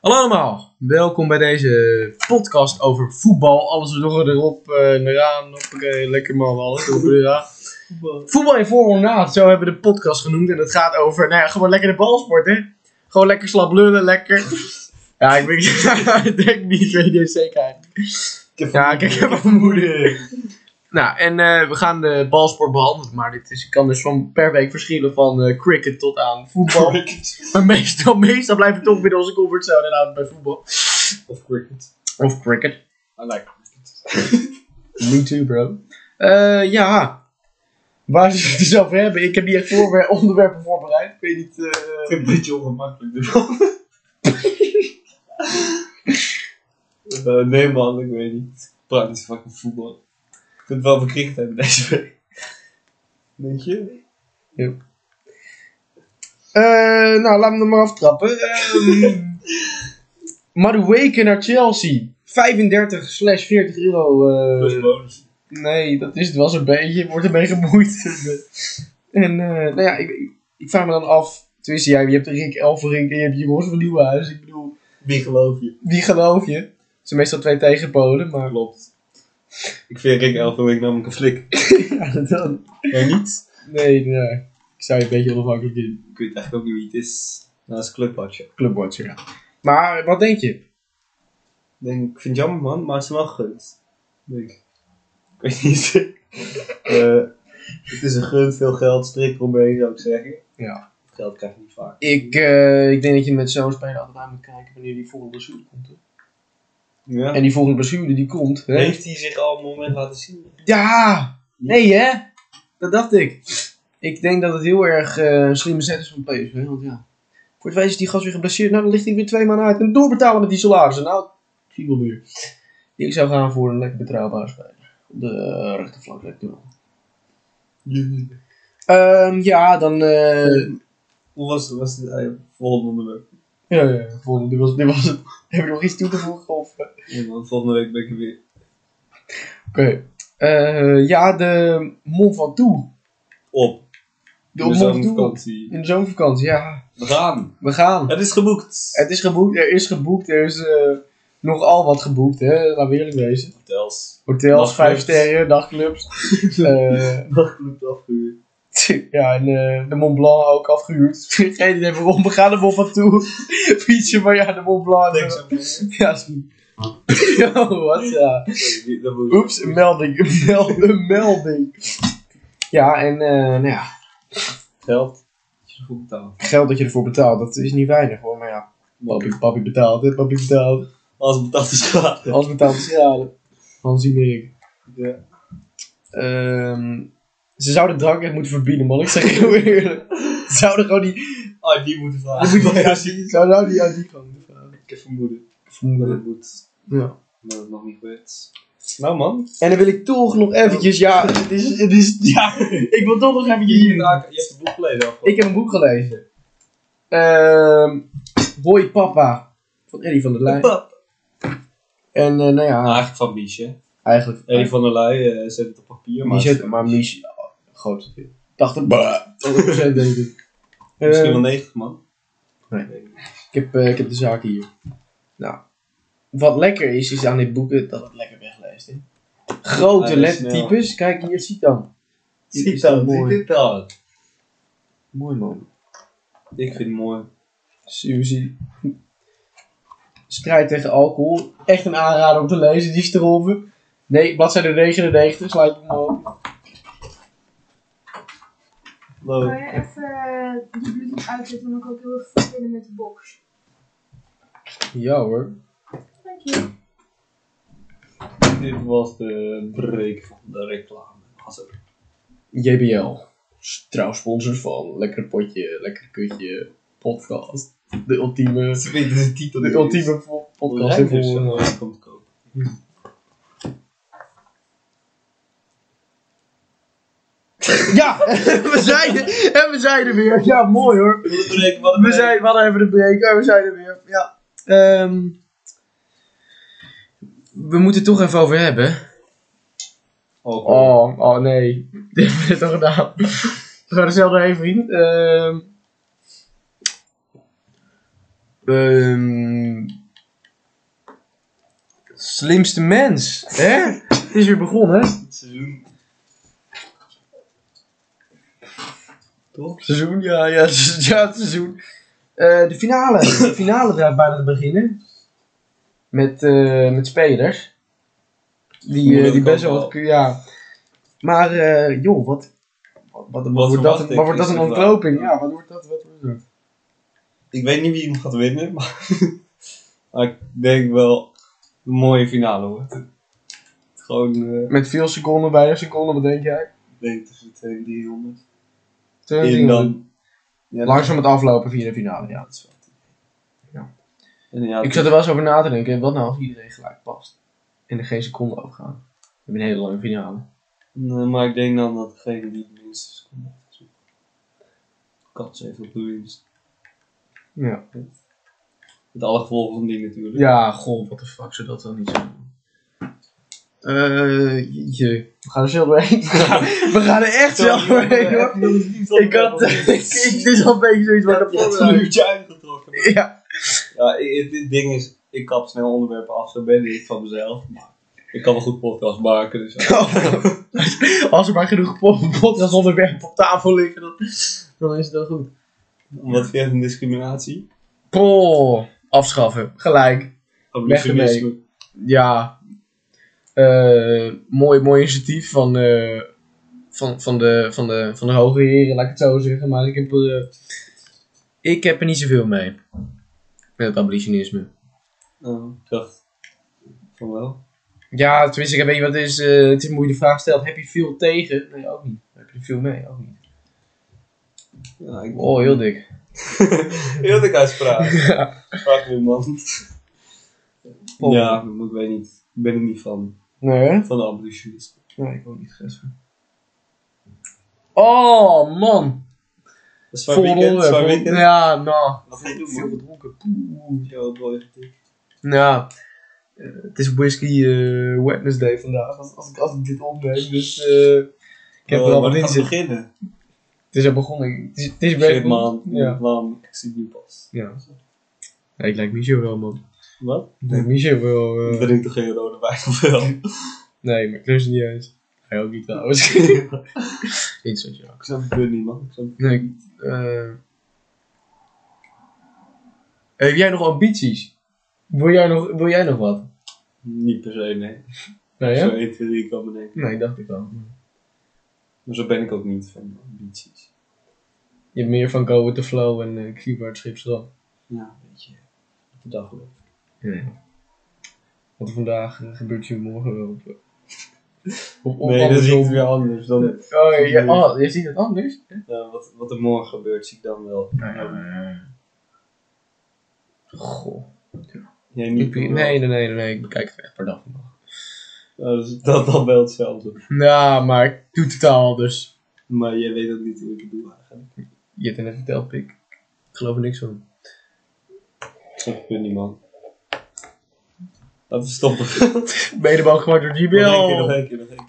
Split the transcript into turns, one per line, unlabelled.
Hallo allemaal, welkom bij deze podcast over voetbal. Alles door erop eh, en eraan. Hoppakee, lekker man, alles erop en eraan. Voetbal in vorm naad, zo hebben we de podcast genoemd. En het gaat over, nou ja, gewoon lekker de bal sporten. Gewoon lekker slap lullen, lekker. Ja, ik, weet- ik denk niet, ik weet niet eens zeker eigenlijk. Ja, ik heb een vermoeden. Nou, en eh, we gaan de balsport behandelen. Maar dit is, kan dus van per week verschillen van eh, cricket tot aan voetbal.
Cricket.
Maar meestal, meestal blijven we toch binnen onze comfortzone en houden bij voetbal.
Of cricket.
Of cricket.
I like cricket.
Me too, bro. Eh, ja. Waar zullen we het dus over hebben? Ik heb niet echt voorwer- onderwerpen voorbereid. Ik weet niet.
Ik
eh,
vind het een beetje ongemakkelijk. dit wel. Eh, nee man, ik weet niet. Ik praat niet zo fucking voetbal. Ik vind het wel over cricket hebben deze week. Denk je?
eh, nou, laten we hem maar aftrappen. Um, Madueke naar Chelsea. 35-40 euro. eh,
Dat is bonus.
nee, dat is het wel zo'n beetje. Wordt ermee gemoeid. en eh, nou ja, ik, ik- ik vraag me dan af. Tenminste, ja, je hebt Rick Elverink en je hebt Jeroen van Nieuwenhuis. Ik bedoel,
Wie geloof je?
wie geloof je? Het zijn meestal twee tegenpolen, maar...
Klopt. Ik vind Rick Elfering namelijk een flik.
ja, dan...
Jij niet?
Nee, nee. Ik zou je een beetje onafhankelijk in
Ik weet eigenlijk ook niet wie het is. Nou, dat is Clubwatcher.
Clubwatcher. Ja. Maar wat denk je?
Ik denk, ik vind het jammer man, maar het is wel gunst. Denk ik. Ik weet niet. Eh, het is een gunst, veel geld, strik eromheen zou ik zeggen.
Ja.
Geld krijg je niet vaak.
Ik, eh, ik denk dat je met zo'n speler altijd aan moet kijken wanneer die volgende blessure komt. hoor.
Ja.
En die volgende blessure die komt. Hè?
Heeft hij zich al een moment laten zien?
Ja! Nee hè? Dat dacht ik. Ik denk dat het heel erg eh, een slimme zet is van PSV. Want ja, voor het wijs is die gast weer geblesseerd. Nou, dan ligt hij weer twee maanden uit. En doorbetalen met die salarissen. Nou, ik zie wel weer. Ik zou gaan voor een lekker betrouwbaar speler. Op de eh, rechterflank lekker doen. Ehm, ja, dan... eh,
Hoe was het? Was het eh, volgende onderwerp?
Ja, ja, ja, volgende. Dit was, dit was het. Heb je nog iets toe te voegen? Of... eh?
Ja, man, volgende week ben ik er weer.
Oké. Eh, ja, de Mont Ventoux.
Op. Dus
De
We
Mont
zijn op
Ventoux.
vakantie.
In de zomervakantie, ja.
We gaan.
We gaan.
Het is geboekt.
Het is geboekt, er is geboekt, er is eh, nogal wat geboekt, hè. Laten we eerlijk wezen.
Hotels.
Hotels, vijf
Nachtclubs.
sterren, dagclubs. Eh,
Nachtclub afgehuurd.
ja, en eh, de Mont Blanc ook afgehuurd. Geen idee waarom, we gaan de Mont Ventoux fietsen, maar ja, de Mont Blanc. eh,
Denk zo. Sorry,
Ja, is goed. Yo, wat ja.
die- dat moet-
Oeps, een melding, een mel- een melding. Ja, en eh, nou ja,
Geld. Dat je goed betaalt.
geld dat je ervoor betaalt, dat is niet weinig hoor. Maar ja, papi, papi betaalt, hè, papi betaalt.
Als het betaald is, gaat het.
Alles betaalt is graden. Hans ik.
Ja.
Ehm ze zouden drank echt moeten verbieden, man. Ik zeg heel eerlijk. Ze zouden gewoon die...
Ah, die moeten
die moeten
vragen. Ja,
Ze zouden nou die uit die gang moeten vragen.
Ik heb vermoeden. Dat
Vermoedelijk.
het moet.
Ja.
Maar dat is nog niet gebeurd. Nou man.
En dan wil ik toch nog eventjes... Ja, het is... Het is ja, ik wil toch nog eventjes...
Je, raakt- je hebt de boek gelezen al.
Ik heb een boek gelezen. Ehm Boy Papa. Van Eddie van der Leyen. En eh, nou ja,
Eigenlijk van Miesje.
eigenlijk.
Eddie van der Ley eh, zet het op papier. Maar eh,
Mich het, maar Mich. oh, Groot. 80 80% denk ik.
Misschien
Ehm,
wel 90 man.
Nee. ik, heb, eh, ik heb de zaken hier. Nou, wat lekker is, is aan dit boek eh, dat het lekker wegleest. Hè? Grote
Ja, dat is
lettertypes. Kijk hier, ziet dan. Dit is
Ziet
toch
dat,
mooi.
ziet dat.
Mooi man.
Ik vind het mooi.
Suzy. Strijd tegen alcohol. Echt een aanrader om te lezen, die strolven. Nee, bladzijde 99, sluit hem op.
Hallo. Nou,
Kan je even eh, die bluetooth uitzetten, want ik ook heel erg verbinden met de box.
Ja hoor.
Dank je.
Dit was de break van de reclame. Als er-
JBL. S- Trouw sponsors van Lekker Potje, Lekker Kutje, Podcast. De ultieme,
Ze weten de titel
de
niet eens.
ultieme po- podcast.
Hoe rijdt
voor-
er zo'n, eh, komt kopen?
Ja, we zijn, er, en we zijn er weer. Ja, mooi hoor.
Wat een break, wat
We,
een break.
zijn, we hadden even de break en we zijn er weer. Ja. Ehm, we moeten het toch even over hebben.
Oh, cool.
Oh, oh nee. Dit hebben we toch gedaan. We gaan er zelf doorheen, vriend. Ehm. Ehm, Slimste mens. Hè? Het is weer begonnen. hè?
Dit seizoen. Toch?
Seizoen, ja, ja, se- ja het seizoen. Eh, de finale. De finale draait bijna te beginnen. Met, eh, met spelers. Die, eh, die
Moeilijk
best
ook
wel
wel.
wat... Ja. Maar, eh, joh, wat... Wat, wat, wordt
verwacht
dat,
ik,
wat wordt
is
dat een
de vraag.
ontknoping? Ja, wat wordt dat? Wat wordt dat?
Ik weet niet wie hem gaat winnen, maar, maar ik denk wel een mooie finale wordt. het. Gewoon, eh,
Met veel seconden, weinig seconden, wat denk jij?
ik denk tussen 2 en 300.
Twee
En
dingen.
dan. Ja,
Langzaam het aflopen via de finale, ja.
dat is wel.
Ja.
En ja,
Ik zat er wel eens over na te denken, wat nou als iedereen gelijk past? En er geen seconde overgaan. Dan heb je een hele lange finale.
Nee, maar ik denk dan dat degene die het minste seconden heeft zoeken. Kans heeft op de winst.
Ja.
Met alle gevolgen van die natuurlijk.
Ja, goh, wat de fuck zou dat dan niet zijn? Eh, jeetje. We gaan er zelf doorheen. We gaan- We gaan er echt zelf doorheen, hoor. Ik had... ik- Dit is al een beetje zoiets waar de
het
voorbereiding-
uurtje uitgetrokken.
Ja.
Ja, ik- dit ding is, ik kap snel onderwerpen af, zo ben ik van mezelf. Maar ik kan wel goed podcast maken, dus ja.
Als er maar genoeg podcastonderwerpen op tafel liggen, dan, dan is het wel goed.
Wat vind je van discriminatie?
Poh, afschaffen. Gelijk. Weg ermee.
Abolitionisme.
Ja. Eh, mooi, mooi initiatief van, eh, van, van, de, van, de, van de hoge heren, laat ik het zo zeggen. Maar ik heb, er, eh, ik heb er niet zoveel mee. Met het abolitionisme.
Eh, ik dacht van wel.
Ja, tenminste, ik weet niet wat het is. eh, het is moeilijk de vraag gesteld. Heb je veel tegen? Nee, ook niet. Heb je er veel mee? Ook niet.
Ja, ik
Oh, heel dik.
Heel de uitspraak. Vaak weer man.
Oh.
Ja, maar ik weet niet. Ik ben er niet van.
Nee, hè?
Van de abolitionisten.
Nee, ik ook niet gegessen. Oh, man.
Dat is zwaar weekend,
onderwerp,
zwaar
vol-
weekend.
Ja, nou.
Wat ga je doen,
Veel
man?
gedronken. Poeh.
Yo, boy, getikt.
Ja. Eh, het is Whisky eh Wednesday vandaag, als, als, ik, als ik dit opneem. Dus eh, ik heb er
Oh,
al
maar
wat
dan
in
gaat het
zitten.
beginnen.
Het is al begonnen. Het is, het is
Shit, man.
Ja.
Man, ik zie het nu pas.
ja. Ja, ik lijk Michel wel, man.
Wat?
Ik lijk Michel wel. eh,
Ik drink toch geen rode wijn of wel?
nee, maar ik lust het niet eens. Hij ook niet trouwens. Instant joke.
Ik snap het weer niet, man. Ik snap het
Nee, ik- eh. Heb jij nog ambities? Wil jij nog, wil jij nog wat?
niet per se, nee.
Nee,
Zo
hè?
1, 2, 3 kan bedenken.
Nee, dacht ik al.
Maar zo ben ik ook niet van ambities.
Je hebt meer van go with the flow en eh Cuba het Schipsel.
Ja, weet je. Op de dag wel.
Wat er vandaag eh, gebeurt, je morgen wel. eh, Of, of
Nee, dat is
andersom.
iets weer anders dan
Oh, ja, oh, je ziet het anders?
eh, wat, wat er morgen gebeurt, zie ik dan wel.
Nou eh. Goh.
Jij
Ik
niet.
be- nee,
maar wel.
nee, nee, nee, nee, ik bekijk het echt per dag vandaag.
Nou, dus dat dan wel hetzelfde.
Ja, Nou, maar ik doe totaal anders.
Maar jij weet ook niet hoe ik het doe eigenlijk.
Je hebt het net verteld, Pik. Ik geloof er niks van.
Ik snap het weer niet, man. Laten we stoppen.
Bedenbal gewoon door
Nog één keer, nog
GBL.
één keer, nog één keer.